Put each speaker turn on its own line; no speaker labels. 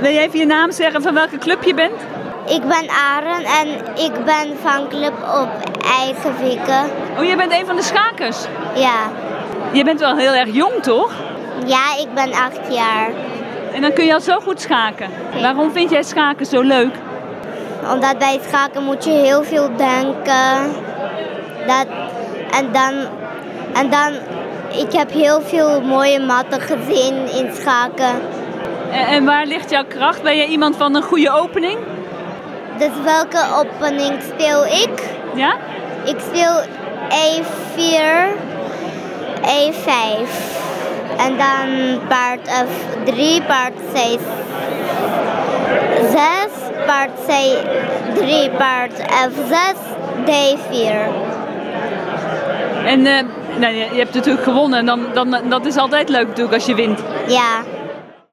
Wil je even je naam zeggen van welke club je bent?
Ik ben Aaron en ik ben van Club op Eigen Wieken.
Oh, jij bent een van de schakers.
Ja.
Je bent wel heel erg jong, toch?
ja, ik ben acht jaar.
En dan kun je al zo goed schaken. Waarom vind jij schaken zo leuk?
Omdat bij het schaken moet je heel veel denken. Dat, en dan, en dan, ik heb heel veel mooie matten gezien in schaken.
En, en waar ligt jouw kracht? Ben je iemand van een goede opening?
Dus welke opening speel ik?
Ja?
Ik E speel E4, E5. E En dan paard F3, paard C6, paard C3, paard F6, D4.
En eh, nou, je, je hebt natuurlijk gewonnen. En dan, dan, dat is altijd leuk natuurlijk als je wint.
Ja,